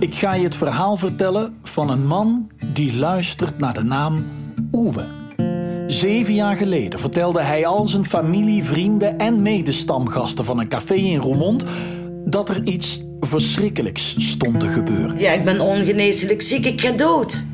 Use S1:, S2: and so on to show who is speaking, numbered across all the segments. S1: Ik ga je het verhaal vertellen van een man die luistert naar de naam Oewe. Zeven jaar geleden vertelde hij al zijn familie, vrienden en medestamgasten van een café in Roermond dat er iets verschrikkelijks stond te gebeuren.
S2: Ja, ik ben ongeneeslijk ziek, ik ga dood.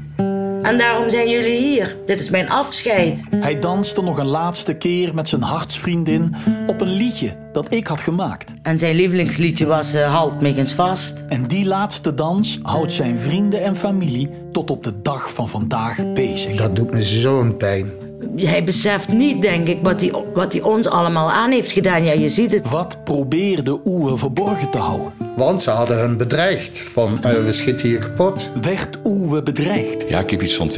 S2: En daarom zijn jullie hier. Dit is mijn afscheid.
S1: Hij danste nog een laatste keer met zijn hartsvriendin op een liedje dat ik had gemaakt.
S2: En zijn lievelingsliedje was eh, Halt me eens vast.
S1: En die laatste dans houdt zijn vrienden en familie tot op de dag van vandaag bezig.
S3: Dat doet me zo'n pijn.
S2: Hij beseft niet, denk ik, wat hij, wat hij ons allemaal aan heeft gedaan. Ja, je ziet het.
S1: Wat probeerde Oewe verborgen te houden?
S3: Want ze hadden hun bedreigd van eh, we schieten je kapot.
S1: Werd Oewe bedreigd?
S4: Ja, ik heb iets van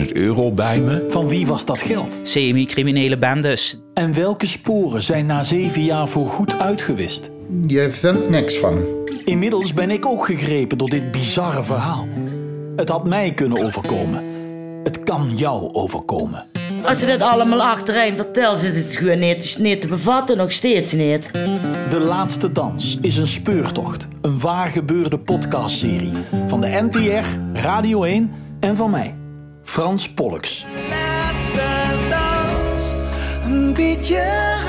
S4: 20.000 euro bij me.
S1: Van wie was dat geld?
S5: Semi-criminele bendes.
S1: En welke sporen zijn na zeven jaar voorgoed uitgewist?
S3: Je vindt niks van.
S1: Inmiddels ben ik ook gegrepen door dit bizarre verhaal. Het had mij kunnen overkomen. Het kan jou overkomen.
S2: Als ze dat allemaal achterin vertelt, zit het gewoon niet, Het is niet te bevatten, nog steeds niet.
S1: De Laatste Dans is een speurtocht. Een waar gebeurde podcastserie. Van de NTR, Radio 1 en van mij, Frans Pollux.
S6: laatste dans. Een beetje Dus